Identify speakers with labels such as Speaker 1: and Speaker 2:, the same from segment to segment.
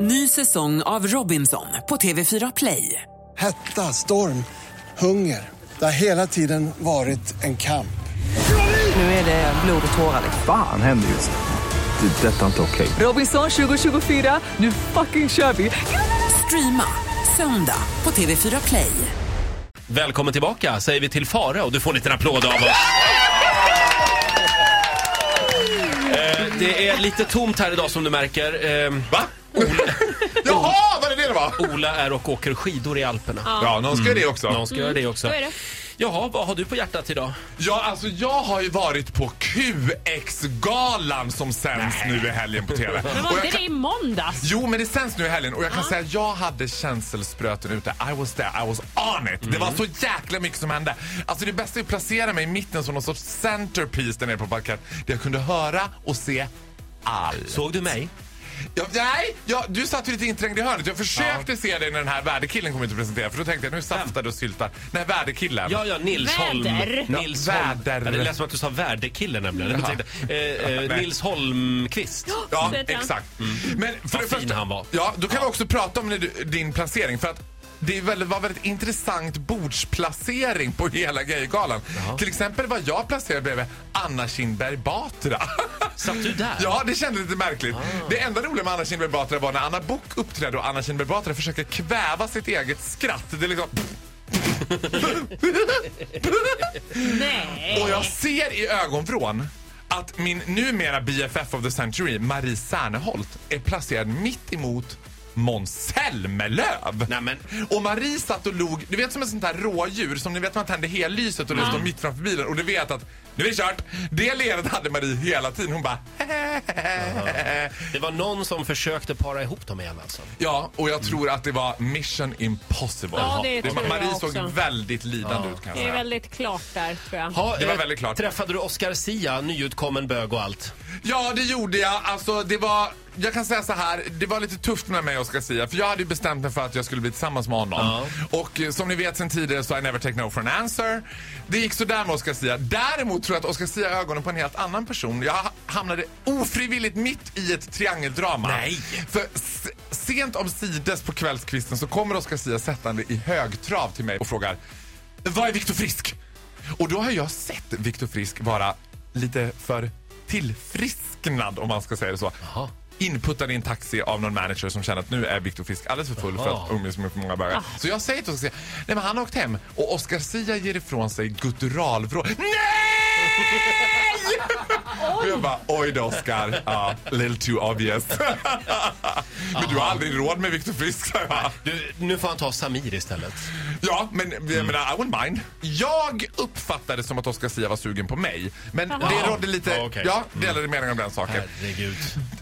Speaker 1: Ny säsong av Robinson på TV4 Play.
Speaker 2: Hetta, storm, hunger. Det har hela tiden varit en kamp.
Speaker 1: Nu är det blod och tårar.
Speaker 3: Fan händer just nu. Det. är Detta är inte okej.
Speaker 1: Robinson 2024, nu fucking kör vi! Streama söndag på TV4 Play.
Speaker 4: Välkommen tillbaka säger vi till Fara och du får en liten applåd av oss. Eh, Det är lite tomt här idag som du märker. Eh,
Speaker 5: Va? Jaha, var det det det var?
Speaker 4: Ola är och åker skidor i Alperna.
Speaker 5: Ja, någon ska göra det också.
Speaker 4: Någon ska göra det också.
Speaker 6: så Mm, är det.
Speaker 4: Jaha, vad har du på hjärtat idag?
Speaker 5: Ja, alltså jag har ju varit på QX-galan som sänds nu i helgen på TV.
Speaker 6: Men
Speaker 5: Och
Speaker 6: var
Speaker 5: jag
Speaker 6: inte
Speaker 5: kan-
Speaker 6: det i måndags?
Speaker 5: Jo, men det sänds nu i helgen och jag kan säga att jag hade känselspröten ute. I was there, I was on it. Det var så jäkla mycket som hände. Alltså det bästa är att placera mig i mitten som någon sorts centerpiece där nere på parkett. Där jag kunde höra och se allt.
Speaker 4: Såg du mig?
Speaker 5: Ja, nej, ja, du satt ju lite inträngd i hörnet. Jag försökte se dig när den här värdekillen kom ut och presenterade. För då tänkte jag nu saftar du och syltar. Den här värdekillen.
Speaker 4: Ja, ja, Nils Holm.
Speaker 6: Väder.
Speaker 4: Nils
Speaker 5: Ja,
Speaker 4: Holm.
Speaker 5: väder.
Speaker 4: Ja, det lät som att du sa värdekille nämligen. Jag tänkte, eh, eh,
Speaker 5: Nej.
Speaker 4: Nils Holmqvist.
Speaker 5: Ja,
Speaker 6: Så heter han.
Speaker 5: exakt. Men för
Speaker 4: Mm. Vad fin han var.
Speaker 5: Ja, då kan vi också prata om när du- din placering. För att det är väldigt- var väldigt intressant bordsplacering på hela Gaygalan. Till exempel var jag placerad bredvid Anna Kinberg Batra.
Speaker 4: Satt du där? Ah.
Speaker 5: Ja, det kändes lite märkligt. Det enda roliga med Anna Kinberg Batra var när Anna Bok uppträdde och Anna Kinberg Batra försöker kväva sitt eget skratt. Det är liksom...
Speaker 6: Nej.
Speaker 5: Och jag ser i ögonvrån att min numera BFF of the century, Marie Serneholt, är placerad mitt emot Måns Zelmerlöw.
Speaker 4: Nej, men-
Speaker 5: Och Marie satt och log, du vet som ett sånt här rådjur som ni vet man tänder hellyset och det står mitt framför bilen och du vet att nu är det kört. Det leendet hade Marie hela tiden. Hon bara
Speaker 4: Det var någon som försökte para ihop dem igen alltså.
Speaker 5: Ja, och jag tror att det var mission impossible.
Speaker 6: Ja, det tror jag
Speaker 5: Marie
Speaker 6: också.
Speaker 5: såg väldigt lidande ut kan jag
Speaker 6: Det är
Speaker 5: säga.
Speaker 6: väldigt klart där tror jag.
Speaker 4: Ha,
Speaker 5: Det var
Speaker 4: eh,
Speaker 5: väldigt klart.
Speaker 4: Träffade du Oscar Sia, nyutkommen bög och allt?
Speaker 5: Ja, det gjorde jag. Alltså, det var... Jag kan säga så här, det var lite tufft med mig och ska säga för jag hade ju bestämt mig för att jag skulle bli tillsammans med honom. Och eh, som ni vet sen tidigare så I never take no for an answer. Det gick så där med Oscar Sia. Däremot tror jag att Oscar Sia har ögonen på en helt annan person. Jag ha- hamnade ofrivilligt mitt i ett triangeldrama.
Speaker 4: Nej.
Speaker 5: För s- sent om sides på kvällskvisten så kommer Oscar Sia sättande i högtrav till mig och frågar Vad är Viktor Frisk? Och då har jag sett Viktor Frisk vara lite för tillfrisknad om man ska säga det så.
Speaker 4: Jaha.
Speaker 5: Inputtad i en taxi av någon manager som känner att nu är Viktor Frisk alldeles för full för
Speaker 4: Jaha.
Speaker 5: att umgås med för många bögar. Så jag säger till Oscar Sia, nej men han har åkt hem och Oscar Sia ger ifrån sig gutturalvrål. Nej! Och jag bara, oj då Oscar. Ja, little too obvious. men du har aldrig råd med Viktor Frisk, sa jag.
Speaker 4: Du, nu får han ta Samir istället.
Speaker 5: Ja, men
Speaker 4: Mm.
Speaker 5: jag menar, I wouldn't mind. Jag uppfattade som att Oscar Sia var sugen på mig. Men det rådde lite...
Speaker 4: Ja, okej. Mm.
Speaker 5: Ja, delade meningar om den saken.
Speaker 4: Herregud.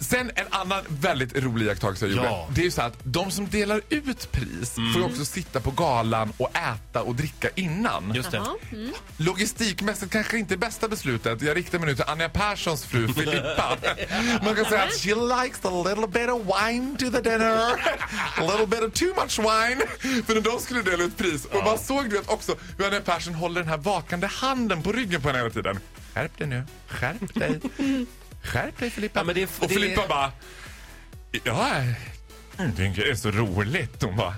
Speaker 5: Sen en annan väldigt rolig iakttagelse jag gjorde.
Speaker 4: Ja. Mm.
Speaker 5: Det är ju så att de som delar ut pris får ju också sitta på galan och äta och dricka innan.
Speaker 4: Just det.
Speaker 5: Mm. Logistikmässigt kanske inte bästa beslutet. Jag riktar mig nu till Anja Perssons fru Filippa. Man kan säga att she likes a little bit of wine to the dinner. A little bit of too much wine. För när de skulle dela ut pris. Och man såg du vet också hur Anja Persson håller den här vakande handen på ryggen på henne hela tiden. Skärp dig nu. Skärp dig. Skärp dig Filippa.
Speaker 4: Ja, men det är-
Speaker 5: och
Speaker 4: det är-
Speaker 5: Filippa bara. Ja, jag tycker det är så roligt. Hon bara.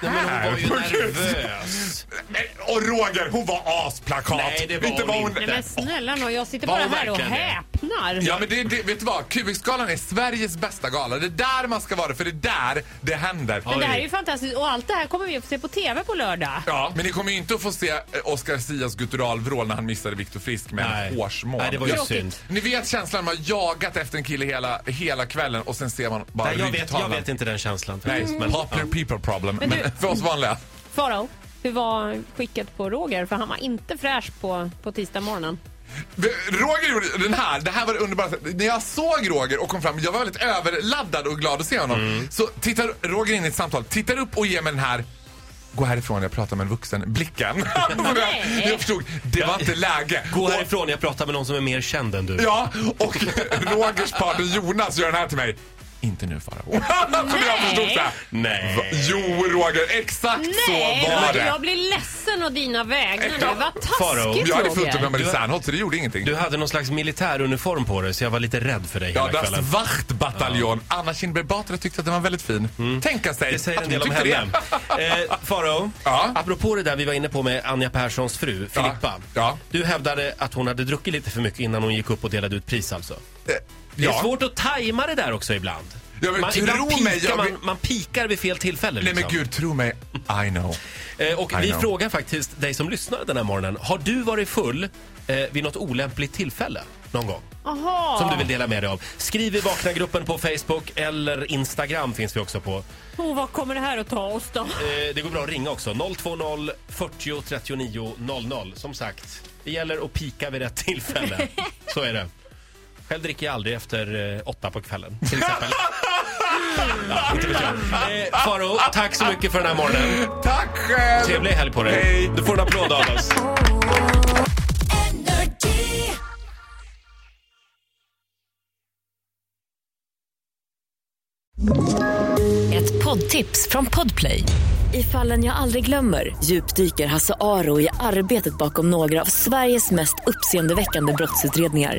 Speaker 4: Nej, men hon var ju
Speaker 5: "Här, på Gud."
Speaker 4: nervös.
Speaker 5: Nej, Och Roger, hon var asplakat!
Speaker 4: Nej, det var
Speaker 5: inte
Speaker 4: hon inte.
Speaker 6: Nej men snälla nå, jag sitter
Speaker 4: Var
Speaker 6: bara
Speaker 4: hon
Speaker 6: här och
Speaker 4: verkligen det?
Speaker 6: häpnar.
Speaker 5: Ja, men det, det, vet du vad? QX-galan är Sveriges bästa gala. Det är där man ska vara, för det är där det händer.
Speaker 6: Men det här
Speaker 4: Oj.
Speaker 6: är ju fantastiskt och allt det här kommer vi att få se på TV på lördag.
Speaker 5: Ja, men ni kommer ju inte att få se eh, Oscar Sias gutturalvrål när han missade Viktor Frisk med
Speaker 4: Nej.
Speaker 5: en hårsmån.
Speaker 4: Nej, det var ju
Speaker 6: Tråkigt.
Speaker 4: synd.
Speaker 5: Ni vet känslan man jagat efter en kille hela, hela kvällen och sen ser man bara
Speaker 4: Nej, jag, vet, jag
Speaker 5: ryggtavlan.
Speaker 4: vet inte Mm. den känslan.
Speaker 5: Nej,
Speaker 4: faktiskt,
Speaker 5: popular people problem. Men,
Speaker 6: Men du-
Speaker 5: för oss vanliga.
Speaker 6: Farao, hur var skicket på Roger? För han var inte fräsch på, på tisdag morgonen.
Speaker 5: Roger gjorde den här, det här var det underbara. När jag såg Roger och kom fram, jag var väldigt överladdad och glad att se honom. Så tittar Roger in i ett samtal, tittar upp och ger mig den här Gå härifrån, jag pratar med en vuxen. Blicken.
Speaker 6: Nej.
Speaker 5: jag förstod, det var inte läge.
Speaker 4: Gå
Speaker 5: Och-
Speaker 4: härifrån, jag pratar med någon som är mer känd än du.
Speaker 5: Ja, och Rogers partner Jonas gör den här till mig. Inte nu Farao. Som jag förstod såhär. Nej. Jo Roger, exakt
Speaker 6: Nej,
Speaker 5: så var
Speaker 6: Roger,
Speaker 5: det.
Speaker 6: jag blir ledsen å dina vägnar nu.
Speaker 5: Ja,
Speaker 6: Vad
Speaker 4: Faro,
Speaker 6: taskigt
Speaker 5: Jag hade fullt upp med
Speaker 6: Roger.
Speaker 5: Melissa Ernholt så det gjorde ingenting.
Speaker 4: Du hade någon slags militäruniform på dig så jag var lite rädd för dig
Speaker 5: Ja,
Speaker 4: hela
Speaker 5: Das
Speaker 4: kvällen.
Speaker 5: Wachtbataljon. Anna Kinberg Batra tyckte att den var väldigt fin. Mm. Tänka sig
Speaker 4: Mm. Det säger
Speaker 5: att
Speaker 4: en
Speaker 5: hon
Speaker 4: del om
Speaker 5: tyckte
Speaker 4: henne.
Speaker 5: det.
Speaker 4: Eh, Faro,
Speaker 5: Ja.
Speaker 4: apropå det där vi var inne på med Anja Perssons fru, Filippa.
Speaker 5: Ja.
Speaker 4: Du hävdade att hon hade druckit lite för mycket innan hon gick upp och delade ut pris alltså. Det är
Speaker 5: Ja.
Speaker 4: svårt att tajma det där också ibland.
Speaker 5: Ja, men
Speaker 4: man,
Speaker 5: tro
Speaker 4: ibland pikar
Speaker 5: mig, jag-
Speaker 4: man, man pikar vid fel tillfälle.
Speaker 5: Nej
Speaker 4: Liksom.
Speaker 5: men gud, tro mig. I know.
Speaker 4: Eh, och
Speaker 5: I
Speaker 4: vi
Speaker 5: know.
Speaker 4: frågar faktiskt dig som lyssnar den här morgonen. Har du varit full eh, vid något olämpligt tillfälle någon gång?
Speaker 6: Jaha.
Speaker 4: Som du vill dela med dig av. Skriv i Vakna-gruppen på Facebook eller Instagram finns vi också på. Eh,
Speaker 6: Och vad kommer det här att ta oss då?
Speaker 4: det går bra att ringa också. 020 40 39 00. Som sagt, det gäller att pika vid rätt tillfälle. Så är det. Själv dricker jag aldrig efter eh, åtta på kvällen. Till exempel. ja, inte vet jag. Eh, Faro, tack så mycket för den här morgonen.
Speaker 5: Tack själv!
Speaker 4: Trevlig helg på dig.
Speaker 5: Hej.
Speaker 4: Du får en applåd av oss.
Speaker 7: Ett poddtips från Podplay. I fallen jag aldrig glömmer djupdyker Hasse Aro i arbetet bakom några av Sveriges mest uppseendeväckande brottsutredningar.